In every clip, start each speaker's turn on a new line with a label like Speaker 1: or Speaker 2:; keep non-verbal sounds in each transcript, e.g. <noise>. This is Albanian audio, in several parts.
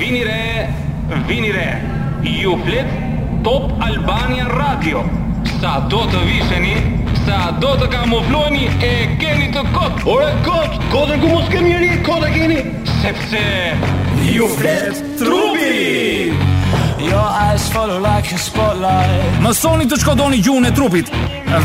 Speaker 1: Vini re, vini re. Ju flet Top Albania Radio. Sa do të visheni, sa do të kamufloheni e keni të kot,
Speaker 2: Ore kot, kotën ku mos kem njëri, kot e keni.
Speaker 1: sepse
Speaker 2: Ju flet trupi.
Speaker 3: Your eyes follow like a spotlight.
Speaker 4: Mësoni të shkodoni gjuhën e trupit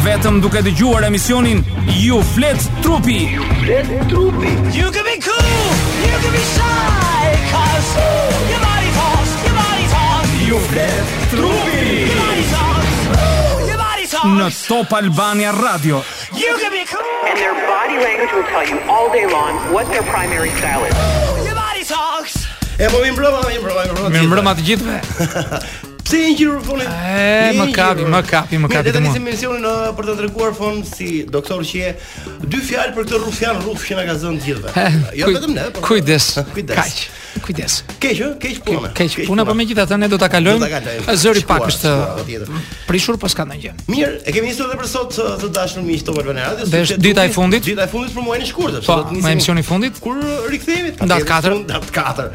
Speaker 4: vetëm duke dëgjuar emisionin Ju flet trupi.
Speaker 2: Flet trupi.
Speaker 3: You can be cool, you can be shy, cause ooh, your body talks, your body talks,
Speaker 2: Ju flet
Speaker 3: your
Speaker 2: trupi.
Speaker 3: body talks, ooh, your body
Speaker 4: Në
Speaker 3: talks.
Speaker 4: Top Albania Radio.
Speaker 3: You can be cool,
Speaker 5: And their body language will tell you all day long what their primary style is.
Speaker 3: your body talks.
Speaker 2: E po mi mbrëma, mi mbrëma, mi mbrëma.
Speaker 4: Mirë mbrëma të gjithëve.
Speaker 2: Pse një gjirë fonit?
Speaker 4: E, më kapi, më kapi, më kapi
Speaker 2: të
Speaker 4: të
Speaker 2: mua.
Speaker 4: mua.
Speaker 2: Ne nisim misionin ë, uh, për të treguar fon si doktor që je dy fjalë për këtë rufjan ruf që na ka zënë të gjithëve. Jo
Speaker 4: Kuj-
Speaker 2: vetëm ne, por
Speaker 4: Kujdes.
Speaker 2: Kujdes.
Speaker 4: Kaq. Kujdes.
Speaker 2: keq, ë, keq puna.
Speaker 4: Keq puna, por megjithatë ne do ta
Speaker 2: Do
Speaker 4: kalojmë.
Speaker 2: ta kalojmë.
Speaker 4: Zëri pak
Speaker 2: Shkuar,
Speaker 4: është
Speaker 2: shkuar, patjetër.
Speaker 4: prishur, po s'ka ndonjë.
Speaker 2: Mirë, e kemi nisur edhe për sot ë, të dashur miq të Valvan Radio.
Speaker 4: Dhe është dita e fundit.
Speaker 2: Dita e fundit për muajin e shkurtër,
Speaker 4: Po,
Speaker 2: sot do të
Speaker 4: me emisioni i fundit.
Speaker 2: Kur rikthehemi?
Speaker 4: Datë katër.
Speaker 2: <laughs> datë 4.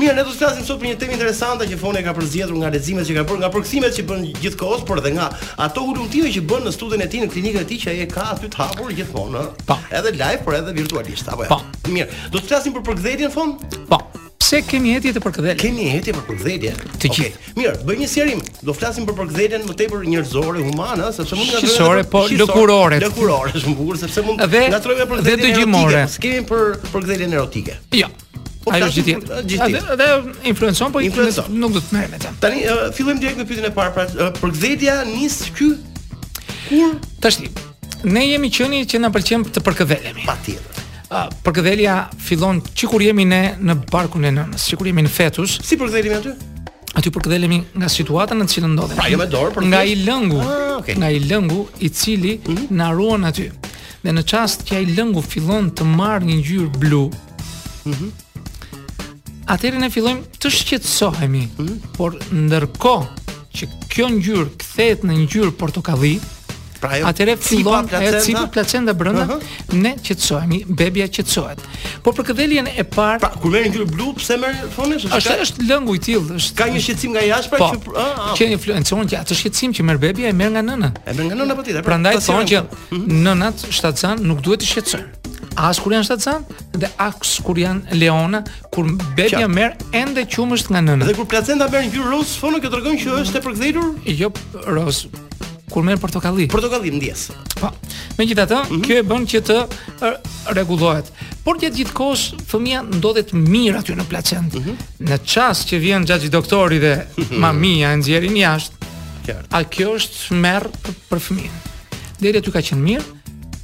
Speaker 2: Mirë, ne do të flasim sot për një temë interesante që Foni ka përzgjedhur nga leximet që ka bërë, nga përkthimet që bën gjithkohës, por edhe nga ato hulumtime që bën në studion e tij, në klinikën e tij që ai e ka aty të hapur gjithmonë, ë.
Speaker 4: Po.
Speaker 2: Edhe live, por edhe virtualisht, apo jo.
Speaker 4: Po.
Speaker 2: Mirë, do të flasim për përkthëdin fon?
Speaker 4: Po, pse kemi etje të përkëdhel?
Speaker 2: Keni hetje për përkthëdje.
Speaker 4: Të gjithë.
Speaker 2: Mirë, bëj një sjerim. Do flasim për përkthëdjen më tepër njerëzore, humane, ë, sepse mund nga
Speaker 4: Shqisore, po, lëkurore.
Speaker 2: Lëkurore, shumë bukur sepse mund
Speaker 4: Dhe-
Speaker 2: ngatrojmë
Speaker 4: dhe
Speaker 2: përkthëdjen
Speaker 4: dëgjimore.
Speaker 2: erotike. S'kemi për përkthëdjen erotike.
Speaker 4: Jo.
Speaker 2: Po,
Speaker 4: Ajo
Speaker 2: flasim
Speaker 4: është
Speaker 2: për-
Speaker 4: gjithë
Speaker 2: gjithë
Speaker 4: tjetër.
Speaker 2: tjetër.
Speaker 4: Edhe influencon, po
Speaker 2: Influencon.
Speaker 4: influencon. Nuk do të merrem me të.
Speaker 2: Tani uh, fillojmë direkt me pyetjen e parë, pra uh, përkthëdja nis ky kur
Speaker 4: Tash ne jemi qeni që na pëlqen të përkëdhelemi.
Speaker 2: patjetër.
Speaker 4: Uh, përkëdhelja fillon sikur jemi ne në barkun e nënës, sikur jemi në fetus,
Speaker 2: Si përkthehemi aty?
Speaker 4: aty përkëdhelemi nga situata në të cilën ndodhemi.
Speaker 2: Pra, jo me dorë, por
Speaker 4: nga i
Speaker 2: thjesht-
Speaker 4: lëngu,
Speaker 2: Ah, okay. Mhm.
Speaker 4: nga i lëngu i cili na ruan aty. Dhe në çast që ai lëngu fillon të marrë një ngjyrë blu, Mhm. Atëherë ne fillojmë të shqetësohemi,
Speaker 2: Mhm.
Speaker 4: por ndërkohë që kjo ngjyrë kthehet në ngjyrë portokalli,
Speaker 2: Pra ajo
Speaker 4: Atëre fillon
Speaker 2: cipa,
Speaker 4: e
Speaker 2: placenta.
Speaker 4: cipa placenta brenda,
Speaker 2: Aha.
Speaker 4: ne qetësohemi, bebia qetësohet. Po për këdheljen e parë
Speaker 2: Pra kur merr ngjyrë blu, pse merr thonë se
Speaker 4: është është lëngu i tillë, është
Speaker 2: ka një shqetësim nga jashtë pra
Speaker 4: po,
Speaker 2: që ah, ah,
Speaker 4: që influencon që atë shqetësim që merr bebia e merr nga nëna.
Speaker 2: e merr nga nëna patjetër. pra,
Speaker 4: Prandaj
Speaker 2: ta Mhm.
Speaker 4: thonë që
Speaker 2: sjellem.
Speaker 4: nënat shtatzan nuk duhet të shqetësojnë. As kur janë shtatzan dhe as kur janë leona, kur bebia
Speaker 2: Qartë.
Speaker 4: merr ende qumësht nga nëna.
Speaker 2: Dhe kur placenta merr ngjyrë roz, fonë kjo tregon që është e përkthehur
Speaker 4: Jo roz kur merr portokalli.
Speaker 2: protokolli ndjes.
Speaker 4: Po. Megjithatë,
Speaker 2: Mhm.
Speaker 4: kjo e bën që të ë, rregullohet. Por gjatë gjithë kohës fëmia ndodhet mirë aty në placent.
Speaker 2: Mhm.
Speaker 4: Në çast që vjen gjaxhi doktori
Speaker 2: <laughs>
Speaker 4: dhe mamia e nxjerrin jashtë,
Speaker 2: Qartë.
Speaker 4: a kjo është merr për, për fëmijën. Deri aty ka qenë mirë,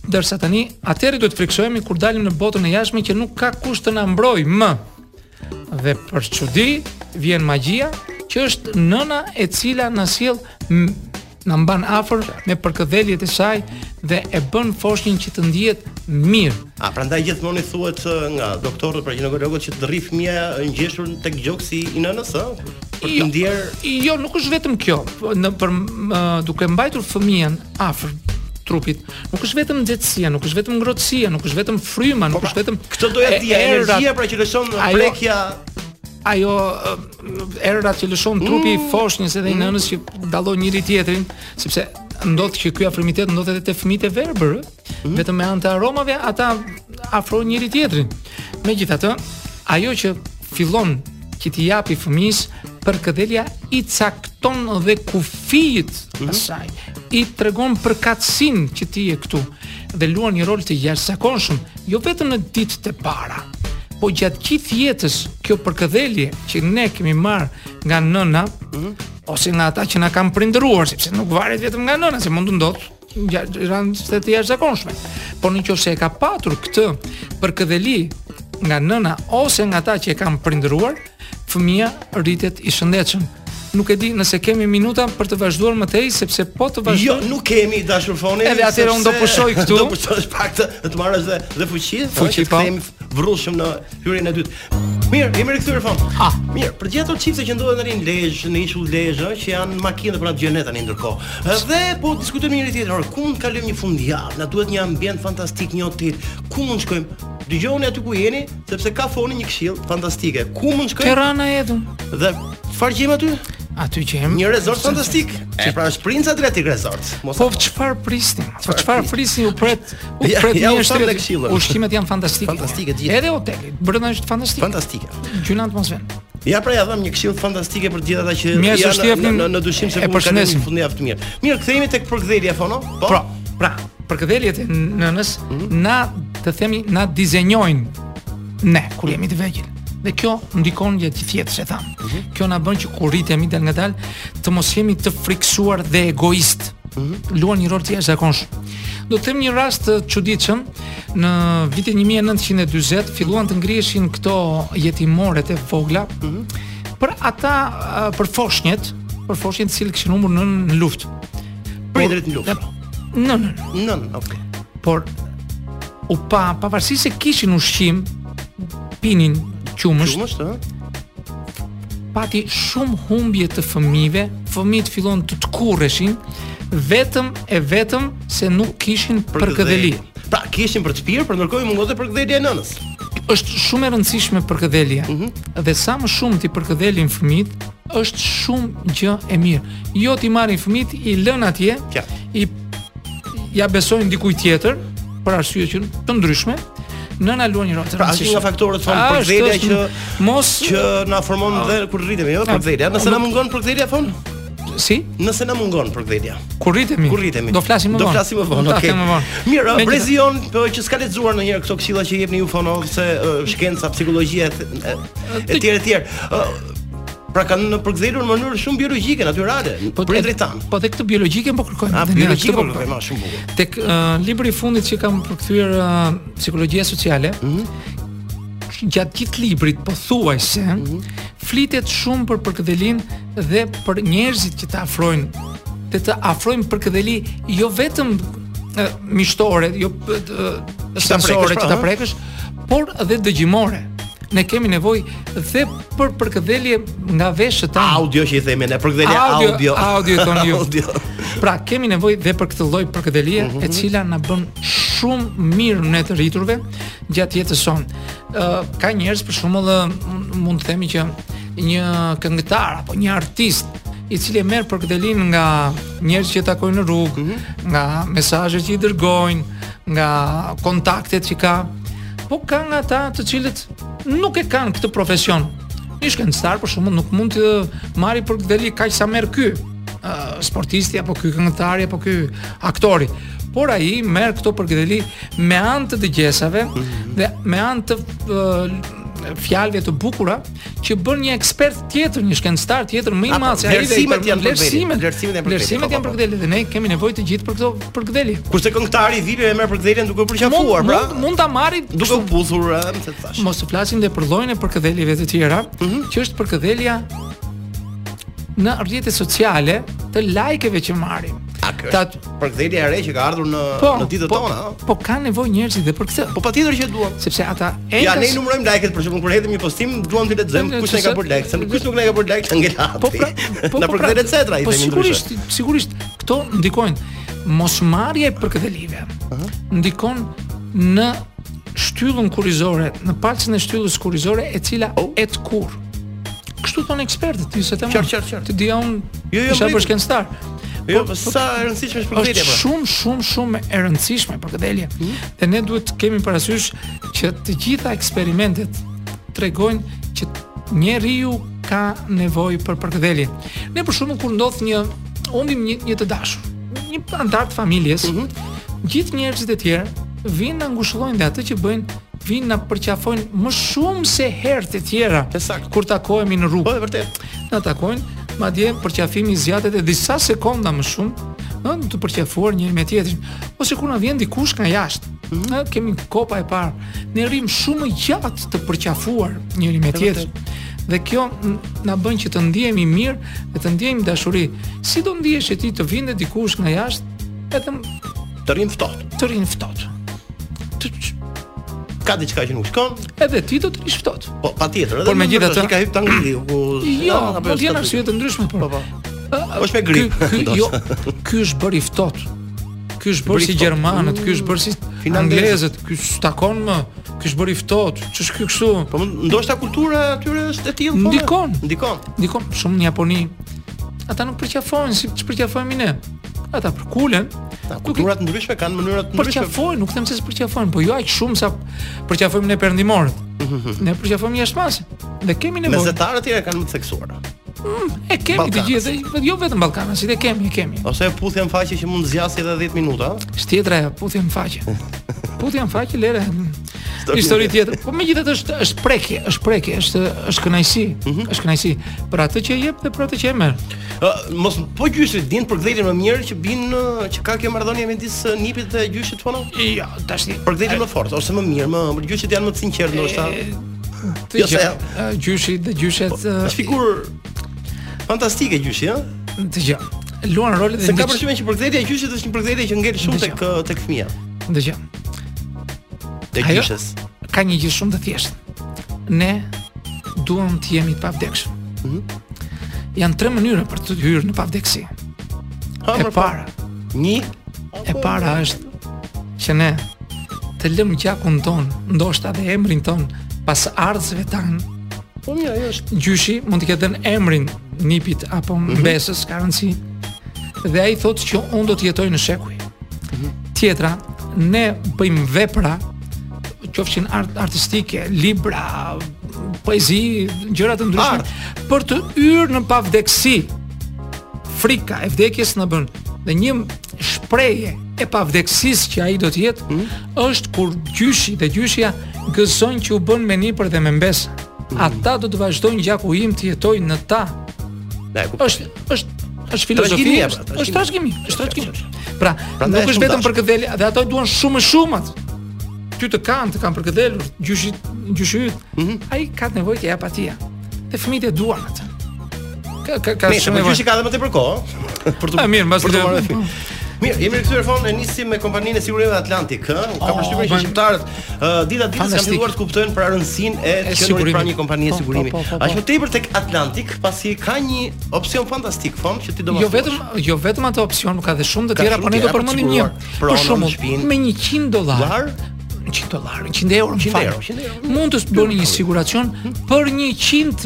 Speaker 4: ndërsa tani atëherë duhet të friksohemi kur dalim në botën e jashtme që nuk ka kush të na mbrojë më. Dhe për çudi vjen magjia që është nëna e cila na sjell m- na mban afër me përkëdheljet e saj dhe e bën foshnjën që të ndihet mirë.
Speaker 2: A prandaj gjithmonë i thuhet ë, nga doktorët për ginekologët që të rri fëmia ë, ngjeshur tek gjoksi i nënës, ë? Për të ndjer
Speaker 4: Jo, nuk është vetëm kjo. Po, Në për më, duke mbajtur fëmijën afër trupit, nuk është vetëm nxehtësia, nuk është vetëm ngrohtësia, nuk është vetëm fryma, nuk është vetëm
Speaker 2: Po, pra, Këtë doja
Speaker 4: e-
Speaker 2: të dia
Speaker 4: errat,
Speaker 2: energjia pra që lëshon
Speaker 4: Ajo-
Speaker 2: prekja
Speaker 4: ajo ë, errat që lëshon trupi i foshnjës edhe i nënës që dallon njëri tjetrin, sepse ndodh që ky afrimitet ndodh edhe te fëmijët e verbër, ë. vetëm me anë të aromave ata afrojnë njëri tjetrin. Megjithatë, ajo që fillon që t'i japi fëmis për këdhelja i cakton dhe kufijit asaj, i tregon përkatësin që ti je këtu dhe luan një rol të jashtëzakonshëm, jo vetëm në ditët e para, Po gjatë gjithë jetës kjo përkëdhelje që ne kemi marr nga nëna ose nga ata që na kanë prindëruar, sepse nuk varet vetëm nga nëna, se mund të ndodh gjatë rasteve të jashtëzakonshme. Por në qoftë se e ka patur këtë përkëdheli nga nëna ose nga ata që e kanë prindëruar, fëmia rritet i shëndetshëm. Nuk e di nëse kemi minuta për të vazhduar më tej sepse po të
Speaker 2: Jo,
Speaker 4: vazhdojmë.
Speaker 2: nuk kemi dashur foni.
Speaker 4: Edhe atëherë unë do
Speaker 2: sepse-
Speaker 4: pushoj këtu.
Speaker 2: <laughs> Do pushosh pak të të marrësh dhe dhe fuqi, ëh,
Speaker 4: Fuqi,
Speaker 2: që të
Speaker 4: po.
Speaker 2: kthehemi vrrushëm në hyrjen e dytë. Mirë, jemi rikthyer fon.
Speaker 4: Ah.
Speaker 2: Mirë, për gjithë ato çifte që ndodhen tani në Lezhë, në ishull Lezhë, ëh, që janë makinë për atë gjëne tani ndërkohë. Dhe po diskutojmë me njëri tjetrin, "Ore, ku mund të kalojmë një fundjavë? Na duhet një ambient fantastik, një hotel. Ku mund shkojmë?" dëgjoni aty ku jeni, sepse ka foni një këshill fantastike. Ku mund shkojmë
Speaker 4: Tirana jetëm.
Speaker 2: dhe çfarë gjejmë aty?
Speaker 4: Aty që jemi.
Speaker 2: Një resort fantastik. E pra është Prince Adriatic Resort. Mos
Speaker 4: Po çfarë prisnin? Po çfarë prisnin u pret? U
Speaker 2: Ja-
Speaker 4: pret
Speaker 2: ja u
Speaker 4: një
Speaker 2: thamë
Speaker 4: shtret.
Speaker 2: dhe këshillën.
Speaker 4: Ushqimet janë fantastike.
Speaker 2: Fantastike gjithë.
Speaker 4: Edhe hoteli, brenda është fantastik.
Speaker 2: fantastike.
Speaker 4: Gjyna atmosferë.
Speaker 2: Ja pra ja dham një këshill fantastike për të gjithë ata që
Speaker 4: Mirë, s'është
Speaker 2: janë në,
Speaker 4: jepnin-
Speaker 2: në, në dyshim se
Speaker 4: e
Speaker 2: mund të kalojnë
Speaker 4: përshëndesim.
Speaker 2: një fundjavë të mirë. Mirë, kthehemi tek përkthëlia fono. Po.
Speaker 4: Pra, pra, për këdheljet e nënës,
Speaker 2: Mhm.
Speaker 4: na të themi na dizenjojnë ne kur jemi të vegjël. Dhe kjo ndikon gjatë gjithë jetës, e tham.
Speaker 2: Mhm.
Speaker 4: Kjo na bën që kur rritemi dal ngadal të mos jemi të friksuar dhe egoist.
Speaker 2: Mhm.
Speaker 4: Luan një rol të jashtëzakonshëm. Do të them një rast të çuditshëm. Në vitin 1940 filluan të ngrihen këto jetimoret e vogla.
Speaker 2: Mhm.
Speaker 4: Për ata eh, për foshnjët, për foshnjët të cilët kishin humbur nën në luftë. po,
Speaker 2: Prindrit në luftë.
Speaker 4: Nën, nën,
Speaker 2: Nën, okay.
Speaker 4: por u pa pavarësisht se kishin ushqim, pinin qumësht,
Speaker 2: Shumë është, ëh.
Speaker 4: pati shumë humbje të fëmijëve, fëmijët fillon të tkurreshin vetëm e vetëm se nuk kishin përkëdheli.
Speaker 2: Pra, kishin për të pirë, por ndërkohë i mungon të përkëdhelia e nënës.
Speaker 4: Është shumë e rëndësishme përkëdhelja.
Speaker 2: Mhm.
Speaker 4: Dhe sa më shumë ti përkëdhelin fëmijët, është shumë gjë e mirë. Jo ti marrin fëmijët, i lën atje,
Speaker 2: Ja.
Speaker 4: i ja besojnë dikujt tjetër për arsye që të ndryshme. Nëna luan një rol të
Speaker 2: Pra, është një nga
Speaker 4: rëndësishëm.
Speaker 2: faktorët fon
Speaker 4: A,
Speaker 2: përkëdhelia
Speaker 4: është,
Speaker 2: që
Speaker 4: është, mos
Speaker 2: që na formon dhe kur rritemi, jo
Speaker 4: Pra,
Speaker 2: përkëdhelia. Nëse na mungon përkëdhelia fon,
Speaker 4: si
Speaker 2: nëse na mungon përkëdhelia.
Speaker 4: kur rritemi.
Speaker 2: Kur rritemi.
Speaker 4: Do flasim më vonë.
Speaker 2: Do flasim më vonë,
Speaker 4: Do
Speaker 2: okay.
Speaker 4: flasim më vonë.
Speaker 2: Mirë,
Speaker 4: Megjithatë-
Speaker 2: Brezion për që s'ka lexuar ndonjëherë këto këshilla që jepni ju fono se uh, shkenca, psikologjia e etj etj. Pra kanë në përkthjelur në mënyrë shumë biologjike, natyrale, prindrit tan.
Speaker 4: Po tek këtë biologjike po kërkojmë.
Speaker 2: A
Speaker 4: Dhe ne
Speaker 2: biologjike
Speaker 4: këtë po
Speaker 2: po më shumë bukur.
Speaker 4: Tek uh, libri i fundit që kam përkthyer uh, psikologjia sociale, gjatë gjithë librit pothuajse flitet shumë për përkëdhelin dhe për njerëzit që të afrojnë të të afrojnë përkëdheli jo vetëm uh, miqtore, jo uh, stancore
Speaker 2: pra,
Speaker 4: që ta
Speaker 2: ha?
Speaker 4: prekësh, por dhe dëgjimore. Ne kemi nevojë dhe për përkëdhelje nga veshët tona.
Speaker 2: Audio që i themi ne, përkthjelja audio.
Speaker 4: Audio thon ju.
Speaker 2: Audio.
Speaker 4: Pra kemi nevojë dhe për këtë lloj përkëdhelie e cila na bën shumë mirë ne të rriturve gjatë jetës sonë. Ë ka njerëz për shembull ë, m- mund të themi që një këngëtar apo një artist i cili e merr përkëdhelin nga njerëz që e takojnë në rrugë, nga mesazhet që i dërgojnë, nga kontaktet që ka, po ka nga ata të cilët nuk e kanë këtë profesion. Një shkencëtar për shembull nuk mund të marrë përkëdheli kaq sa merr ky ë, sportisti apo ky këngëtari apo ky aktori. Por ai merr këto përkëdheli me anë të dëgjesave
Speaker 2: Mhm.
Speaker 4: dhe me anë të ë, fjalëve të bukura që bën një ekspert tjetër, një shkencëtar tjetër më i
Speaker 2: Apo,
Speaker 4: madh se ai. dhe i përmend
Speaker 2: vlerësimet janë për këdheli,
Speaker 4: vlerësimet,
Speaker 2: vlerësimet
Speaker 4: vlerësimet
Speaker 2: janë për këdheli, po, po,
Speaker 4: janë
Speaker 2: po.
Speaker 4: përkëdheli dhe ne kemi nevojë të gjithë për këto përkëdheli.
Speaker 2: Kurse këngëtari vipi e merr përkthjeljen duke u
Speaker 4: Mund,
Speaker 2: përqafuar, pra.
Speaker 4: mund, mund ta marri
Speaker 2: Duke u puthur, ë, më se të thash.
Speaker 4: mos të flasim dhe për llojin e përkëdheljeve të tjera,
Speaker 2: Mhm.
Speaker 4: që është përkëdhelja në rrjetet sociale të lajkeve që marrim.
Speaker 2: A kjo
Speaker 4: Ta-
Speaker 2: është përkthjelja e re që ka ardhur në në ditët
Speaker 4: po,
Speaker 2: tona, ë?
Speaker 4: po ka nevojë njerëzit dhe për këtë,
Speaker 2: Po patjetër që duam.
Speaker 4: sepse ata
Speaker 2: Ja, ne
Speaker 4: endas-
Speaker 2: i numërojmë like-et për shembull, kur hedhim një postim, duam të lexojmë
Speaker 4: Ne-
Speaker 2: kush ne ka
Speaker 4: se-
Speaker 2: bërë like, se kush nuk ne ka bërë like, ngel hapti.
Speaker 4: Po
Speaker 2: <laughs>
Speaker 4: pra, po
Speaker 2: na
Speaker 4: po, pra-
Speaker 2: përkthejnë et cetera, i
Speaker 4: Po
Speaker 2: themi
Speaker 4: sigurisht, sigurisht këto ndikojnë. Mosmarrja e përkëdhelive ndikon në shtyllën kurrizore, në palcën e shtyllës kurrizore e cila et kur. Kështu thonë ekspertët, ti se të
Speaker 2: Oh. Qartë, qartë, qartë.
Speaker 4: Të dia un
Speaker 2: Jo, jo,
Speaker 4: isha
Speaker 2: mbrimi.
Speaker 4: për shkencëtar.
Speaker 2: Jo, po sa e rëndësishme është përkthjelja
Speaker 4: Është
Speaker 2: pra.
Speaker 4: shumë shumë shumë e rëndësishme përkëdhelja. Dhe ne duhet të kemi parasysh që të gjitha eksperimentet tregojnë që njeriu ka nevojë për përkëdhelje. Ne për shkakun kur ndodh një humbim një, një të dashur, një antar të familjes, gjithë njerëzit e tjerë vinë na ngushëllojnë dhe atë që bëjnë vinë na përqafojnë më shumë se herë të tjera
Speaker 2: Saktë.
Speaker 4: kur takohemi në rrugë
Speaker 2: Po e vërtet.
Speaker 4: na takojnë, madje përqafimi i zjatet e disa sekonda më shumë, ëh, të përqafuar njëri me tjetrin, ose kur na vjen dikush nga jashtë. Ne kemi kopa e parë. Ne rrim shumë më gjatë të përqafuar njëri me tjetrin. Dhe kjo n- na bën që të ndihemi mirë dhe të ndihemi dashuri. Si do ndihesh e ti të vinde dikush nga jashtë, vetëm
Speaker 2: Të rrim ftohtë.
Speaker 4: të rinë ftohtë. Të- ç-
Speaker 2: Ka diçka që nuk shkon,
Speaker 4: Edhe ti do të rish ftohtë.
Speaker 2: po patjetër. edhe
Speaker 4: Por
Speaker 2: në
Speaker 4: megjithatë-
Speaker 2: ndryshim ka hyrë tangli ku
Speaker 4: Jo,
Speaker 2: Ah, apo
Speaker 4: mund të jenë
Speaker 2: s'ka
Speaker 4: arsye të ndryshme, por
Speaker 2: Po po.
Speaker 4: Ë,
Speaker 2: Është me grip,
Speaker 4: Ky, ky,
Speaker 2: ndoshta.
Speaker 4: jo, ky është bërë i ftohtë. Ky është bërë
Speaker 2: Bëri
Speaker 4: si
Speaker 2: ftohtë.
Speaker 4: gjermanët, ky është bërë si
Speaker 2: finlandezët.
Speaker 4: Anglezët, ky s'takon më, ky është bëri ftohtë, ç'është ky kështu?
Speaker 2: Po ndoshta kultura e atyre është e tillë. po,
Speaker 4: Ndikon.
Speaker 2: Ndikon.
Speaker 4: Ndikon shumë në Japoni. Ata nuk përqafojnë si ç'përqafojmë ne. Ata përkulen,
Speaker 2: Ta
Speaker 4: nuk i
Speaker 2: kulturat ndryshme kanë mënyra të ndryshme.
Speaker 4: përqafojnë, nuk them se s'përqafojnë, po jo aq shumë sa përqafojmë ne perëndimorët. Ne përqafojmë jashtë Dhe kemi nevojë.
Speaker 2: Mesetarët tjerë kanë më të theksuara.
Speaker 4: E kemi të
Speaker 2: Ballkanas.
Speaker 4: gjithë, dhe jo vetëm Ballkanas, si e kemi, e kemi.
Speaker 2: Ose e puthja në faqe që mund të zjasë edhe 10 minuta.
Speaker 4: Shtjetra e puthja në faqe. Puthja në faqe lere. Histori tjetër. Po megjithatë është është prekje, është prekje, është është kënaqësi,
Speaker 2: Mhm.
Speaker 4: është kënaqësi për atë që e jep dhe për atë që e merr.
Speaker 2: Ë, mos po gjyshit din për kthejtin më mirë që bin ë, që ka kjo marrëdhënie midis ë, nipit dhe gjyshit tonë.
Speaker 4: Jo, tashni.
Speaker 2: Për kthejtin më fort ose më mirë, më për gjyshit janë më të sinqertë ndoshta.
Speaker 4: Të
Speaker 2: Jo,
Speaker 4: gjë,
Speaker 2: se- Po,
Speaker 4: ë, gjyshi dhe gjyshet ë,
Speaker 2: Është figurë fantastike gjyshi, ëh.
Speaker 4: të gjë. Luan rolet dhe
Speaker 2: Se ka
Speaker 4: ndiq-
Speaker 2: përshtypjen që përkthejtja e gjyshit është një përkthejtje që ngel shumë tek ë, tek fëmia,
Speaker 4: Dhe gjë.
Speaker 2: tek
Speaker 4: Ajo-
Speaker 2: gjyshes.
Speaker 4: Ka një gjë shumë të thjeshtë. Ne duam të jemi të pavdekshëm.
Speaker 2: Mhm.
Speaker 4: Janë tre mënyra për të hyrë në pavdekësi.
Speaker 2: Ha,
Speaker 4: E
Speaker 2: mërë, po.
Speaker 4: para,
Speaker 2: Një
Speaker 4: E para është që ne të lëmë gjakun ton, ndoshta dhe emrin ton pas ardhësve tan.
Speaker 2: Po mirë, ajo është.
Speaker 4: Gjyshi mund të ketë dhënë emrin nipit apo mbesës, ka rëndësi. Dhe ai thotë që unë do të jetoj në shekuj. Tjetra, ne bëjmë vepra qofshin art artistike, libra, poezi, gjëra të ndryshme
Speaker 2: Art.
Speaker 4: për të hyrë në pavdekësi. Frika e vdekjes na bën dhe një shprehje e pavdekësisë që ai do të jetë është kur gjyshi dhe gjyshja gëzojnë që u bën me nipër dhe me mbesë. Ata do të vazhdojnë gjaku im të jetojnë në ta.
Speaker 2: Na e kuptoj.
Speaker 4: Është është është filozofi,
Speaker 2: Trashëgimi,
Speaker 4: është-
Speaker 2: pra,
Speaker 4: është trashëgimi, është trashëgim. Pra,
Speaker 2: Prandaj
Speaker 4: nuk
Speaker 2: është
Speaker 4: është vetëm
Speaker 2: dashur.
Speaker 4: për këtë dhe ato duan shumë më shumë atë. Ty të kanë, të kanë për këtë delur, gjyshi gjyshi yt.
Speaker 2: Mhm.
Speaker 4: Ai ka nevojë të jap atij. Dhe fëmijët e duan atë. Ka ka ka
Speaker 2: Mirë,
Speaker 4: shumë
Speaker 2: po
Speaker 4: nevojë.
Speaker 2: gjyshi ka edhe më tepër kohë,
Speaker 4: <laughs>
Speaker 2: ëh, për
Speaker 4: A, mirë, mbas
Speaker 2: për
Speaker 4: të-
Speaker 2: marrë filmin. Mirë, jemi rikthyer fon e nisim me kompaninë e sigurimeve Atlantik, ëh. Ka përshtypjen që
Speaker 4: Oh, bën-
Speaker 2: shqiptarët ë, dita ditës kanë
Speaker 4: Fantastik.
Speaker 2: filluar të kuptojnë për rëndësinë e
Speaker 4: E
Speaker 2: qenurit pranë
Speaker 4: sigurimit.
Speaker 2: një kompanie
Speaker 4: Po, po,
Speaker 2: sigurimi.
Speaker 4: po, po, po.
Speaker 2: Aq më tepër tek Atlantik, pasi ka një opsion fantastik fon që ti do
Speaker 4: Jo vetëm jo vetëm atë opsion, ka dhe shumë të
Speaker 2: Ka
Speaker 4: tjera,
Speaker 2: shumë
Speaker 4: por ne do
Speaker 2: tjera për
Speaker 4: përmendim një.
Speaker 2: siguruar.
Speaker 4: Për
Speaker 2: Pronën,
Speaker 4: shembull,
Speaker 2: shtëpinë.
Speaker 4: me 100 dollar,
Speaker 2: dollar
Speaker 4: 100 dollar, 100 euro,
Speaker 2: 100
Speaker 4: 100
Speaker 2: euro, 100 euro. Mhm.
Speaker 4: Mund të bëni një siguracion për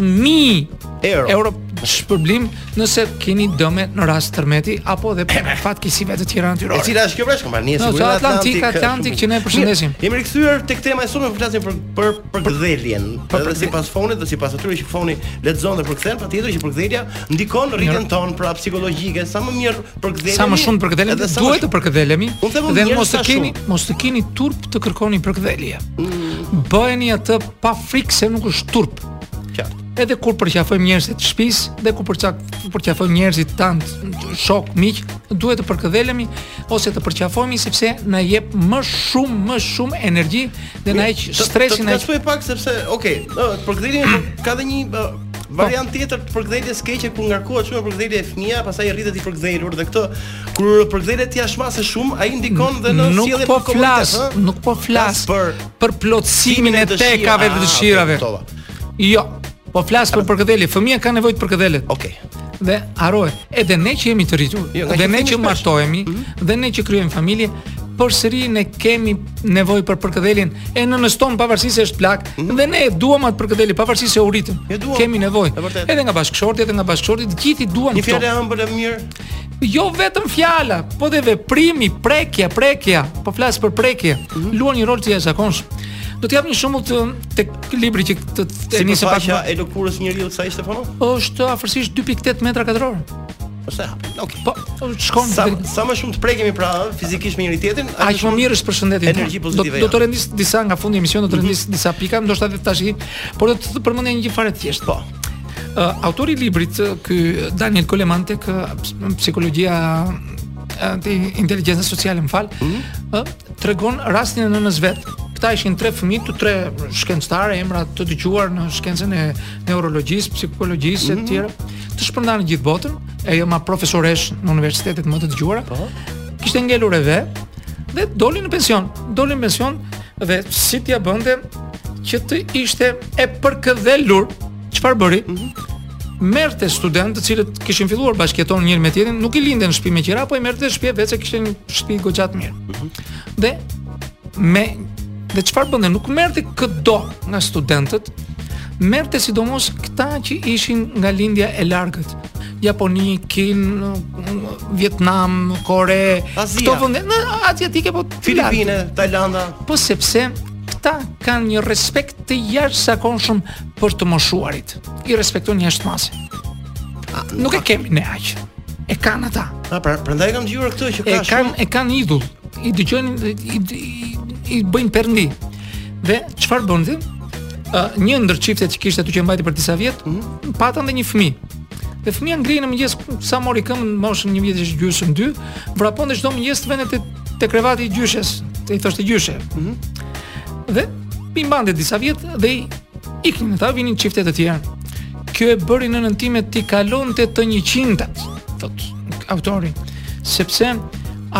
Speaker 4: 100.000
Speaker 2: Euro.
Speaker 4: euro shpërblim nëse keni dëme në rast tërmeti apo dhe për fatkeqësive të tjera
Speaker 2: E
Speaker 4: natyrore.
Speaker 2: cila është kjo bresh kompania e
Speaker 4: No,
Speaker 2: sigurimeve
Speaker 4: so Atlantik,
Speaker 2: Atlantik?
Speaker 4: Atlantik që ne
Speaker 2: Mirë,
Speaker 4: përshëndesim.
Speaker 2: Jemi rikthyer tek tema e sotme, po flasim për për për gdheljen. Edhe sipas fonit dhe sipas atyre që foni lexon dhe përkthen, patjetër që përkthjelja ndikon në rritjen tonë pra psikologjike, sa më mirë përkthjelja.
Speaker 4: Sa më shumë përkëdhelemi, duhet të përkëdhelemi
Speaker 2: Unë them,
Speaker 4: dhe
Speaker 2: njerëz
Speaker 4: mos të
Speaker 2: sa
Speaker 4: keni
Speaker 2: shumë. Mm.
Speaker 4: mos të keni turp të kërkoni përkëdhelje. Bëheni atë pa frikë se nuk është turp.
Speaker 2: qartë.
Speaker 4: Edhe kur përqafojmë njerëzit të shtëpisë dhe kur përçak- përqafojmë njerëzit tan, shok, miq, duhet të përkëdhelemi ose të përqafohemi sepse na jep më shumë më shumë energji dhe na heq stresin
Speaker 2: ai.
Speaker 4: na
Speaker 2: Të shpoj pak sepse, okay, ë, përkthjelja ka dhe një ë, variant tjetër të përkthjeljes keqe ku ngarkohet shumë përkthjelja e fëmia, pastaj rritet i përkthjelur dhe këtë kur përkthjeljet jashmase shumë, ai ndikon dhe në
Speaker 4: nuk
Speaker 2: sjelljen
Speaker 4: po
Speaker 2: për komunitet,
Speaker 4: flas,
Speaker 2: ë?
Speaker 4: nuk po flas
Speaker 2: Flas për-
Speaker 4: për plotësimin e
Speaker 2: Plotësimin e dëshira-
Speaker 4: tekave dhe
Speaker 2: Ah,
Speaker 4: dëshirave.
Speaker 2: kuptova.
Speaker 4: Jo, po flas për përkëdhelje. Fëmia ka nevojë të përkëdhelet.
Speaker 2: Okej.
Speaker 4: Dhe harohet. Edhe ne që jemi të rritur,
Speaker 2: Jo, nga
Speaker 4: dhe ne
Speaker 2: që themi
Speaker 4: që
Speaker 2: shpesh.
Speaker 4: martohemi,
Speaker 2: Mhm.
Speaker 4: dhe ne që krijojmë familje, përsëri ne kemi nevojë për përkëdheljen e nënës tonë pavarësisht se është plak dhe ne e duam atë përkëdhelje pavarësisht se u ritëm.
Speaker 2: Mhm. E duam,
Speaker 4: Kemi nevojë.
Speaker 2: e vërtetë.
Speaker 4: Edhe nga bashkëshorti, edhe nga bashkëshorti, të gjithë i duan
Speaker 2: Një
Speaker 4: këto.
Speaker 2: fjalë e ëmbël e mirë.
Speaker 4: Jo vetëm fjala, po dhe veprimi, prekja, prekja, po flas për prekje,
Speaker 2: Mhm.
Speaker 4: luan një rol të jashtëzakonshëm. Do të jap një shembull të tek libri që të, të
Speaker 2: Si
Speaker 4: nisë pak.
Speaker 2: faqja
Speaker 4: më-
Speaker 2: e lëkurës njeriu sa ishte fono?
Speaker 4: Është afërsisht 2.8 metra katror.
Speaker 2: Ose hapi. Okej.
Speaker 4: Po, shkon
Speaker 2: Sa
Speaker 4: deri-
Speaker 2: sa më shumë të prekemi pra ëh, fizikisht me njëri tjetrin, aq
Speaker 4: Aq më mirë është përshëndetja.
Speaker 2: Energji
Speaker 4: Do,
Speaker 2: pozitive. Mhm.
Speaker 4: do të rendis disa nga fundi i emisionit, do të rendis disa pika, ndoshta edhe tash, por do të përmendja një gjë fare të thjeshtë.
Speaker 2: Po.
Speaker 4: Uh, autori i librit, uh, ky Daniel Coleman tek uh, ps- psikologjia uh, te inteligjenca sociale, më fal,
Speaker 2: Mhm.
Speaker 4: ë, tregon rastin e nënës vet. Këta ishin tre fëmijë, të tre shkencëtarë, emra të dëgjuar në shkencën e neurologjisë, psikologjisë e të tjera, të shpërndarë në gjithë botën, ajo ma profesoresh në universitetet më të dëgjuara. Kishte ngelur e ve dhe doli në pension. Doli në pension dhe si t'ja bënte që të ishte e përkëdhelur. Çfarë bëri? merrte studentë të cilët kishin filluar bashkëjeton njëri me tjetrin, nuk i lindën në shtëpi me qira, po i merrte në shtëpi vetë se kishin një shtëpi goxhat mirë. Dhe
Speaker 6: me dhe çfarë bënte? Nuk merrte këdo nga studentët, merrte sidomos këta që ishin nga lindja e largët. Japoni, Kin, Vietnam, Kore,
Speaker 2: Azia.
Speaker 6: këto vende në asiatike po të lartë.
Speaker 2: Filipine, Tajlanda.
Speaker 6: po sepse këta kanë një respekt të jashtëzakonshëm për të moshuarit. I respektojnë jashtëmase. A, Nuk e kemi ne aq. E kanë ata.
Speaker 2: Ah, pra, prandaj kam dëgjuar këtë që
Speaker 6: E
Speaker 2: ka
Speaker 6: kanë e kanë idhull. I dëgjojnë i, i, i bëjnë perndi. Dhe çfarë bën ti? Ë, një ndër çiftet që kishte aty që mbajti për disa vjet,
Speaker 2: Mhm.
Speaker 6: patën dhe një fëmijë. Dhe fëmia ngrihej në mëngjes sa mori këmbë në moshën një vjetësh gjysmë dy, vrapon dhe çdo mëngjes të vendet te, te krevati i gjyshes, te i thoshte gjyshe. Dhe i mbante disa vjet dhe i iknin ata, vinin çifte të tjerë. Kjo e bëri nënën time ti kalonte të 100-tat, thot autori, sepse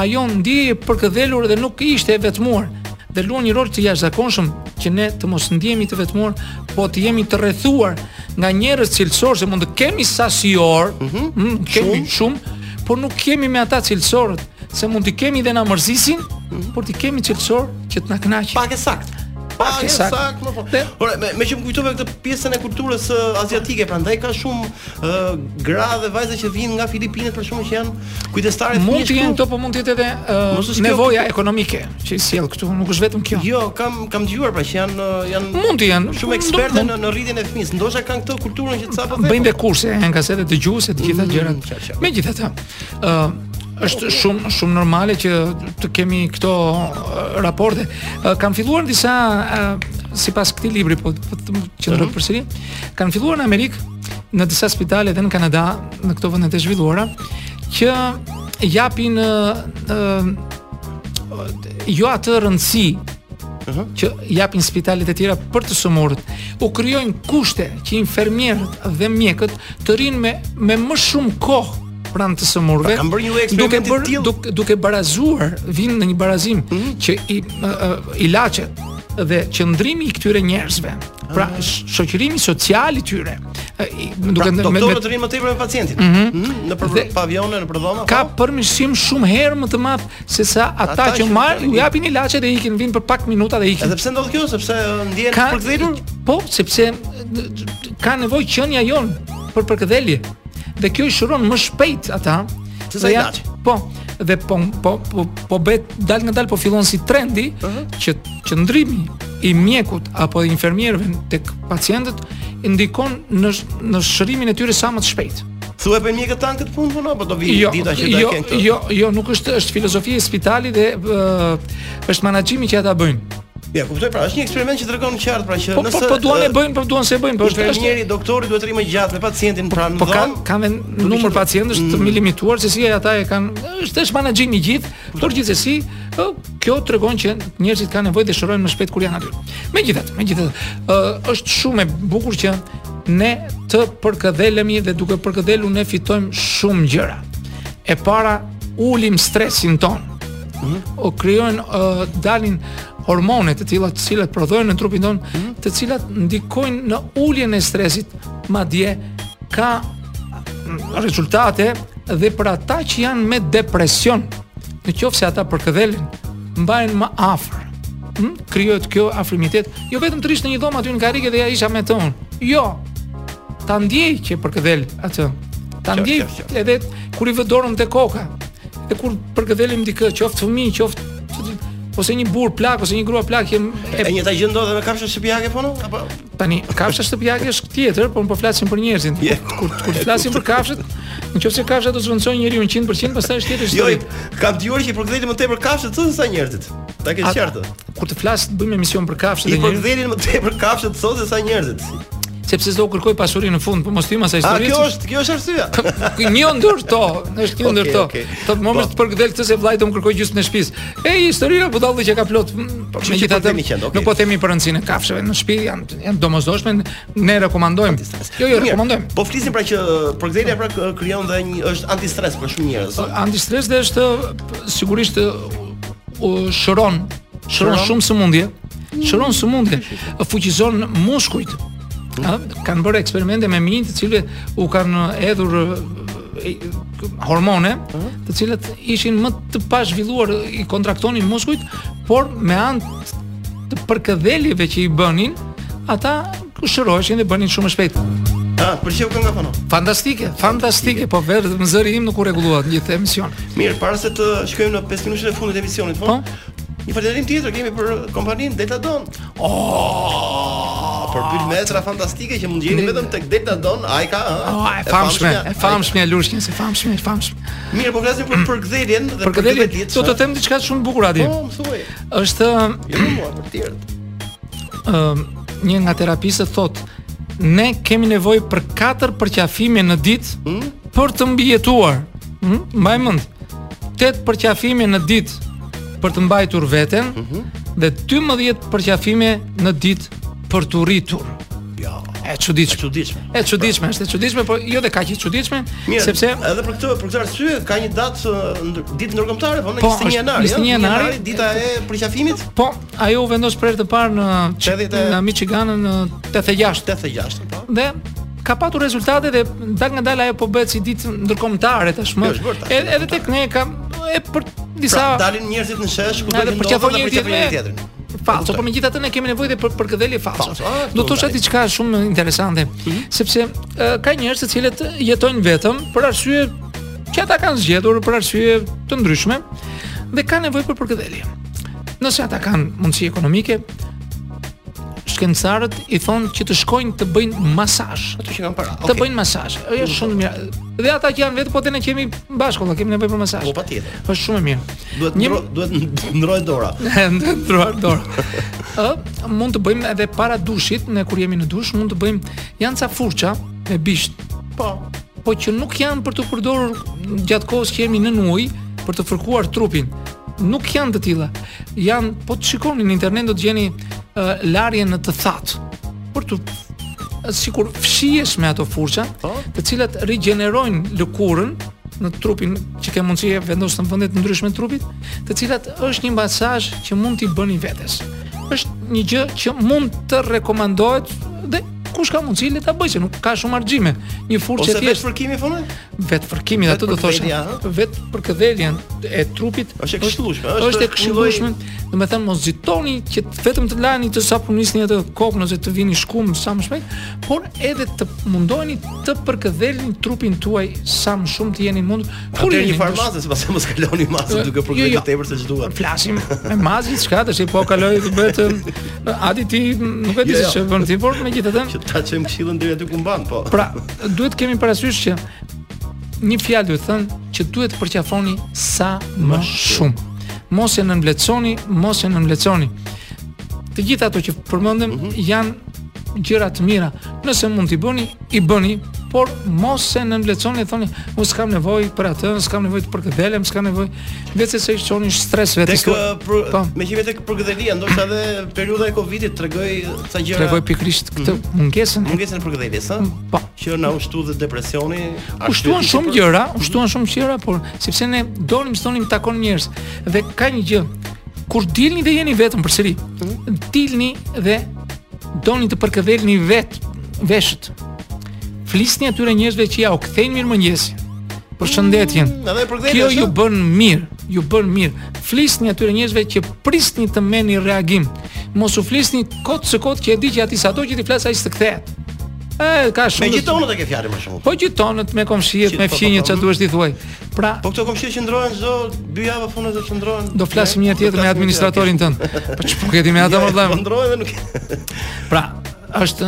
Speaker 6: ajo ndjeje për këdhelur dhe nuk ishte e vetmuar dhe luan një rol të jashtëzakonshëm që ne të mos ndjehemi të vetmuar, po të jemi të rrethuar nga njerëz cilësorë se mund të kemi sasior, mm, kemi shumë, por nuk kemi me ata cilësorët, se mund t'i kemi dhe na mërzisin, por t'i kemi cilësor që të na kënaqin.
Speaker 2: pak e sakt. Pak
Speaker 6: e
Speaker 2: e
Speaker 6: sakt.
Speaker 2: sakt, më po.
Speaker 6: Dhe-
Speaker 2: Ora, me, me që më kujtove këtë pjesën e kulturës ë, aziatike, prandaj ka shumë ë, gra dhe vajza që vinë nga Filipinat për shkakun që janë kujdestare të
Speaker 6: Mund
Speaker 2: fëmijësh
Speaker 6: të jenë
Speaker 2: këtu.
Speaker 6: këto, po mund të jetë edhe ë,
Speaker 2: Mos është kjo-
Speaker 6: nevoja ekonomike që i sjell këtu, nuk është vetëm kjo.
Speaker 2: Jo, kam kam dëgjuar pra që janë ë, janë
Speaker 6: Mund të jenë,
Speaker 2: shumë ekspertë
Speaker 6: mund-
Speaker 2: në, në rritjen e fëmisë. Ndoshta kanë këtë kulturën që të po sapo
Speaker 6: Bëjnë dhe kurse, janë kasete dëgjuese, të gjitha
Speaker 2: Mm,
Speaker 6: gjërat.
Speaker 2: qartë, qartë.
Speaker 6: Megjithatë, ë është shumë shumë normale që të kemi këto ë, raporte. Ë, kanë filluar disa ë, sipas këtij libri, po po të më qëndroj
Speaker 2: Mhm.
Speaker 6: përsëri, kanë filluar në Amerikë, në disa spitale dhe në Kanada, në këto vende të zhvilluara, që japin ë, ë, jo atë rëndësi që japin spitalet e tjera për të sëmurët. U krijojnë kushte që infermierët dhe mjekët të rinë me me më shumë kohë pranë të sëmurëve.
Speaker 2: Pra, kanë bërë një lloj
Speaker 6: duke
Speaker 2: eksperimenti
Speaker 6: bërë
Speaker 2: të tillë. Mhm.
Speaker 6: duke, duke barazuar, vinë në një barazim që i ë, ë, ilaçet dhe qëndrimi i këtyre njerëzve. Pra, sh- shoqërimi social i tyre. ë, i-
Speaker 2: Ah. Pra,
Speaker 6: duke me- me-
Speaker 2: doktorët të rinë më tepër me pacientin. Mhm, Në për,
Speaker 6: Dhe-
Speaker 2: pavione, në përdhoma.
Speaker 6: ka
Speaker 2: po?
Speaker 6: përmirësim shumë herë më të madh se sa ata,
Speaker 2: Ata
Speaker 6: që
Speaker 2: që
Speaker 6: marrin,
Speaker 2: kanë-
Speaker 6: u japin ilaçe dhe ikin, vinë për pak minuta dhe ikin.
Speaker 2: Edhe pse ndodh kjo, sepse ë, ndjehen
Speaker 6: ka
Speaker 2: përkthëtur?
Speaker 6: Po, sepse d- d- ka nevojë qenia jon për përkëdhelje. Dhe kjo i shëron më shpejt ata.
Speaker 2: Se sa
Speaker 6: Dhe
Speaker 2: ilaçi.
Speaker 6: Po, dhe po po po, po bëhet dal nga dal po fillon si trendi
Speaker 2: Mhm.
Speaker 6: që qëndrimi i mjekut apo i infermierëve tek pacientët ndikon në sh- në shërimin e tyre sa më të shpejt.
Speaker 2: Thuaj për mjekët tan këtë punë punon apo do vi
Speaker 6: Jo,
Speaker 2: dita që do e
Speaker 6: jo,
Speaker 2: kenë këtë?
Speaker 6: jo, jo, nuk është është filozofia e spitalit dhe ë, është menaxhimi që ata bëjnë.
Speaker 2: Ja, kuptoj pra, është një eksperiment që tregon qartë pra që
Speaker 6: Po po, po duan e
Speaker 2: ë,
Speaker 6: bëjnë, po duan se e bëjnë, po është është
Speaker 2: Infermieri, doktori duhet të rrimë gjatë me pacientin pranë
Speaker 6: Po ka
Speaker 2: dhomë.
Speaker 6: ka me numër pacientësh të mi limituar se si ata e kanë është është menaxhimi i gjithë, por gjithsesi ë, kjo tregon që njerëzit kanë nevojë të shërojnë më shpejt kur janë aty. Megjithatë, megjithatë, ë, është shumë e bukur që ne të përkëdhelemi dhe duke përkëdhelu ne fitojmë shumë gjëra. E para ulim stresin ton. O krijojnë ë, dalin hormone të tilla të cilat prodhohen në trupin ton, të cilat ndikojnë në uljen e stresit, madje ka rezultate dhe për ata që janë me depresion, në qoftë se ata përkëdhelin, mbajnë më afër. Hm? Krijohet kjo afrimitet, jo vetëm të rish në një dhomë aty në karrige dhe ja isha me të unë. Jo. Ta ndjej që përkëdhel atë. Ta
Speaker 2: Qartë,
Speaker 6: ndjej
Speaker 2: qartë, qartë.
Speaker 6: edhe kur i vë dorën te koka. Dhe kur përkëdhelim dikë, qoftë fëmijë, qoftë ose një burr plak ose një grua plak jem e
Speaker 2: E njëjta gjë ndodh edhe me kafshën shqipiake po no? Apo
Speaker 6: Tani, kafsha shtëpiake është tjetër, por po flasim për njerëzin.
Speaker 2: Je.
Speaker 6: Kur kur flasim për kafshët, nëse kafsha do të zhvendsojë njeriu 100%, pastaj është tjetër
Speaker 2: jo,
Speaker 6: histori.
Speaker 2: i- kam dëgjuar që i përkthejnë më tepër kafshët thonë se sa njerëzit. Ta ke
Speaker 6: A-
Speaker 2: qartë.
Speaker 6: Kur të flas bëjmë emision për kafshët
Speaker 2: I po
Speaker 6: e njerëzit,
Speaker 2: përkthejnë më tepër kafshët thonë se sa njerëzit.
Speaker 6: sepse s'do kërkoj pasurinë në fund, po mos tim asaj
Speaker 2: A
Speaker 6: historisë.
Speaker 2: kjo është, kjo është arsyeja.
Speaker 6: Kë- Një ndër to, është një
Speaker 2: Okej,
Speaker 6: ndër to.
Speaker 2: okej.
Speaker 6: Thot më
Speaker 2: Po.
Speaker 6: të përgdel këtë se vllai do më kërkoj gjysmën e shtëpisë. E historia budalli që ka plot. mm,
Speaker 2: kështu që
Speaker 6: Megjithatë,
Speaker 2: po kemi qenë, okej.
Speaker 6: nuk po themi për rëndësinë e kafshëve në shtëpi, janë janë domosdoshme, ne rekomandojmë. Jo, jo,
Speaker 2: Mirë,
Speaker 6: rekomandojmë.
Speaker 2: Po flisim pra që përkthejtja pra k- krijon dhe një është antistres për shumë njerëz.
Speaker 6: Po. antistres dhe është p- sigurisht ë, u- shëron, shëron shumë sëmundje, shëron sëmundje, fuqizon muskujt. Ë, kanë bërë eksperimente me minj, të cilët u kanë edhur ë, e, kë- hormone, të cilët ishin më të pazhvilluar i kontraktonin muskujt, por me anë të përkëdheljeve që i bënin, ata shëroheshin dhe bënin shumë shpejt.
Speaker 2: Ah, pëlqeu kënga po no.
Speaker 6: Fantastike, fantastike, po vetëm zëri im nuk u rregulluat gjithë emision.
Speaker 2: Mirë, para se të shkojmë në 5 minutën e fundit të emisionit, po.
Speaker 6: Po.
Speaker 2: Një falënderim tjetër kemi për uh, kompaninë Deltadon. Oh,
Speaker 6: Ah,
Speaker 2: për pylmetra fantastike që mund gjeni vetëm tek Deltadon, ai ka, ah, ëh.
Speaker 6: Oh, e famshme, e famshme e lushkjes, e famshme, e famshme.
Speaker 2: Mirë, po flasim
Speaker 6: <clears throat>
Speaker 2: për përkthjeljen dhe
Speaker 6: Për këtë
Speaker 2: përkthjeljet,
Speaker 6: do të them diçka shumë bukur aty.
Speaker 2: Po, më thuaj.
Speaker 6: Është
Speaker 2: Jo më mua, për të tjerët.
Speaker 6: ëm, një nga terapistët thot, ne kemi nevojë për 4 përqafime në ditë për të mbijetuar. Hm? Mbaj mend. 8 përqafime në ditë për të mbajtur veten dhe 12 përqafime në ditë për të rritur.
Speaker 2: Ja,
Speaker 6: E çuditshme.
Speaker 2: çuditshme.
Speaker 6: E çuditshme, është e çuditshme, por jo dhe kaq e çuditshme,
Speaker 2: Mirë,
Speaker 6: sepse
Speaker 2: edhe për këtë për këtë arsye ka një datë ë, ndër- ditë ndërkombëtare, po në
Speaker 6: Po,
Speaker 2: 21
Speaker 6: është
Speaker 2: janar.
Speaker 6: 21 janari,
Speaker 2: dita e përqafimit
Speaker 6: po ajo u vendos për herë të parë në
Speaker 2: 80 e-
Speaker 6: në Michigan në 86
Speaker 2: 86, po.
Speaker 6: dhe ka patur rezultate dhe dal nga dal ajo po bëhet si ditë ndërkombëtare tashmë.
Speaker 2: Jo, është bërë tash,
Speaker 6: Edhe edhe tek ne ka e për disa
Speaker 2: Pra, dalin njerëzit në shesh, ku do
Speaker 6: Na
Speaker 2: të
Speaker 6: dhe përqafon njëri tjetrin. Falso, po
Speaker 2: Kuptoj.
Speaker 6: por megjithatë ne kemi nevojë dhe për përkëdhelje
Speaker 2: Falso,
Speaker 6: falso. Ah, Mhm.
Speaker 2: a,
Speaker 6: Do
Speaker 2: këtu
Speaker 6: të thosha
Speaker 2: ndaj.
Speaker 6: diçka shumë interesante, sepse e, ka njerëz të cilët jetojnë vetëm për arsye që ata kanë zgjedhur për arsye të ndryshme dhe kanë nevojë për përkëdhelje. Nëse ata kanë mundësi ekonomike, shkencëtarët i thonë që të shkojnë të bëjnë masazh
Speaker 2: Ato që kanë para.
Speaker 6: të bëjnë masazh. Është shumë mirë. Dhe ata që janë vetë, po te ne kemi bashku, valla, kemi nevojë për masazh.
Speaker 2: Po, patjetër.
Speaker 6: Është shumë e mirë.
Speaker 2: Duhet
Speaker 6: Një-
Speaker 2: ndro- duhet <laughs> ndroj dora.
Speaker 6: <laughs> ndruar dorë. Ë, mund të bëjmë edhe para dushit, ne kur jemi në dush mund të bëjmë janë ca furça me bisht,
Speaker 2: Po.
Speaker 6: po që nuk janë për të përdorur gjatë kohës që jemi në ujë për të fërkuar trupin. Nuk janë të tilla. Janë, po të shikoni në internet do të gjeni uh, larje në të thatë. Për të sikur fshihesh me ato furça, të cilat rigjenerojnë lëkurën në trupin që ke mundësi e vendos në vende të ndryshme të trupit, të cilat është një masazh që mund t'i bëni vetes. Është një gjë që mund të rekomandohet dhe kush ka mundësi le ta bëjë, se nuk ka shumë argjime. Një furçë
Speaker 2: Ose
Speaker 6: e
Speaker 2: vetë
Speaker 6: thjeshtë
Speaker 2: fërkimi fonë?
Speaker 6: vetë fërkimin
Speaker 2: Vetë
Speaker 6: atë do
Speaker 2: përkëdhelja,
Speaker 6: thosha vetë për këdheljen e trupit
Speaker 2: Është e këshillueshme, është
Speaker 6: është e
Speaker 2: një
Speaker 6: këshillueshme do të thënë mos zitoni që të- vetëm të lani të sapunisni atë kokën ose të vini shkum sa më shpejt por edhe të mundoheni të përkëdhelni trupin tuaj sa më shumë të jeni mundur kur
Speaker 2: Atëherë
Speaker 6: jeni
Speaker 2: një farmacë, sepse mos kaloni masën duke
Speaker 6: Jo,
Speaker 2: përkëdhelë
Speaker 6: jo.
Speaker 2: tepër se ç'duhet.
Speaker 6: flasim me mazi diçka tash po kaloj të bëhet e, adi ti nuk e di
Speaker 2: Jo,
Speaker 6: se
Speaker 2: jo.
Speaker 6: ç'e bën ti por megjithatë
Speaker 2: Që ta çojmë këshillën deri aty ku mban, po.
Speaker 6: Pra, duhet kemi parasysh që një fjalë duhet thënë që duhet të përqafoni sa më shumë. Mos e nënvleçoni, mos e nënvleçoni. Të gjitha ato që përmendëm janë gjëra të mira. Nëse mund t'i bëni, i bëni, por mos e nënvleçoni e thoni, unë s'kam nevojë për atë, s'kam nevojë të përkëdhelem, s'kam nevojë vetë se i çoni stres vetes
Speaker 2: Tek
Speaker 6: tuaj.
Speaker 2: ë, për,
Speaker 6: Po.
Speaker 2: me qenë tek përkëdhelia, ndoshta edhe periudha e Covidit tregoi ca gjëra.
Speaker 6: Tregoj pikrisht këtë mungesën.
Speaker 2: mungesën e përkëdheljes, ha?
Speaker 6: Po.
Speaker 2: Që na ushtu dhe depresioni.
Speaker 6: U shtuan
Speaker 2: arsyeti
Speaker 6: shumë
Speaker 2: për-
Speaker 6: gjëra, u shtuan shumë gjëra, por sepse ne donim stonim takon njerëz. Dhe ka një gjë. Kur dilni dhe jeni vetëm përsëri, dilni dhe doni të përkëdhelni vet veshët. Flisni atyre njerëzve që ja u kthejnë mirëmëngjesin. Përshëndetjen.
Speaker 2: Mm, edhe përkëdhelja,
Speaker 6: Kjo
Speaker 2: është,
Speaker 6: ju
Speaker 2: ëh?
Speaker 6: bën mirë, ju bën mirë. Flisni atyre njerëzve që prisni të merrni reagim. Mos u flisni kot se kot që e di që aty sado që ti flas ai s'të kthehet. E, ka shumë.
Speaker 2: Me gjitonët e ke fjalën më shumë.
Speaker 6: Po gjitonët me komshiet,
Speaker 2: Qi-
Speaker 6: me
Speaker 2: po, po,
Speaker 6: fqinjet
Speaker 2: po.
Speaker 6: çfarë duhet t'i thuaj. Pra,
Speaker 2: Po këto komshie që ndrohen çdo dy javë funë të qëndrohen.
Speaker 6: do flasim
Speaker 2: Po
Speaker 6: një herë tjetër me administratorin tënd. Po ç'po keti me ata
Speaker 2: Ja,
Speaker 6: më
Speaker 2: po
Speaker 6: vëllai.
Speaker 2: ndrohen dhe nuk.
Speaker 6: Pra, është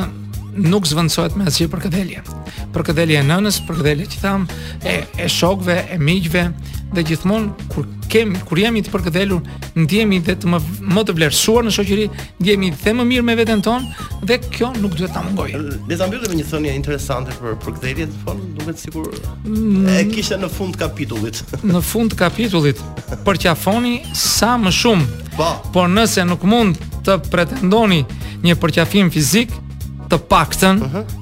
Speaker 6: nuk zvendësohet me asgjë për këdhelje. Për këdhelje e nënës, për këdhelje që tham, e, e shokëve, e miqve dhe gjithmonë kur kem kur jemi të përkëdhelur, ndjehemi dhe të më, më të vlerësuar në shoqëri, ndjehemi dhe më mirë me veten tonë dhe kjo nuk duhet ta mungojë.
Speaker 2: Le ta mbyllim me një thënie interesante për për kthehjet, po duket sikur
Speaker 6: Mm.
Speaker 2: e kishte në fund kapitullit. <laughs>
Speaker 6: në fund të kapitullit përqafoni sa më shumë.
Speaker 2: Po.
Speaker 6: Por nëse nuk mund të pretendoni një përqafim fizik, të paktën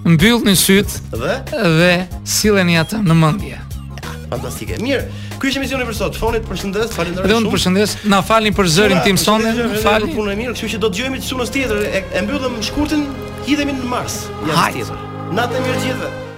Speaker 6: mbyllni syt
Speaker 2: Dhe
Speaker 6: dhe silleni atë në mendje.
Speaker 2: fantastike. Mirë, ky ishte misioni për sot. Fonit përshëndes, falenderoj
Speaker 6: Dhe
Speaker 2: shumë.
Speaker 6: unë përshëndes, na falni për zërin
Speaker 2: Ura,
Speaker 6: tim sonde,
Speaker 2: përshëndetje,
Speaker 6: më
Speaker 2: faleminderit
Speaker 6: falni.
Speaker 2: për Punën e mirë, kështu që do të dëgjohemi të sunës tjetër. E, e mbyllëm shkurtin, hidhemi në Mars. Javës
Speaker 6: Hajde.
Speaker 2: tjetër. Natë e mirë gjithëve.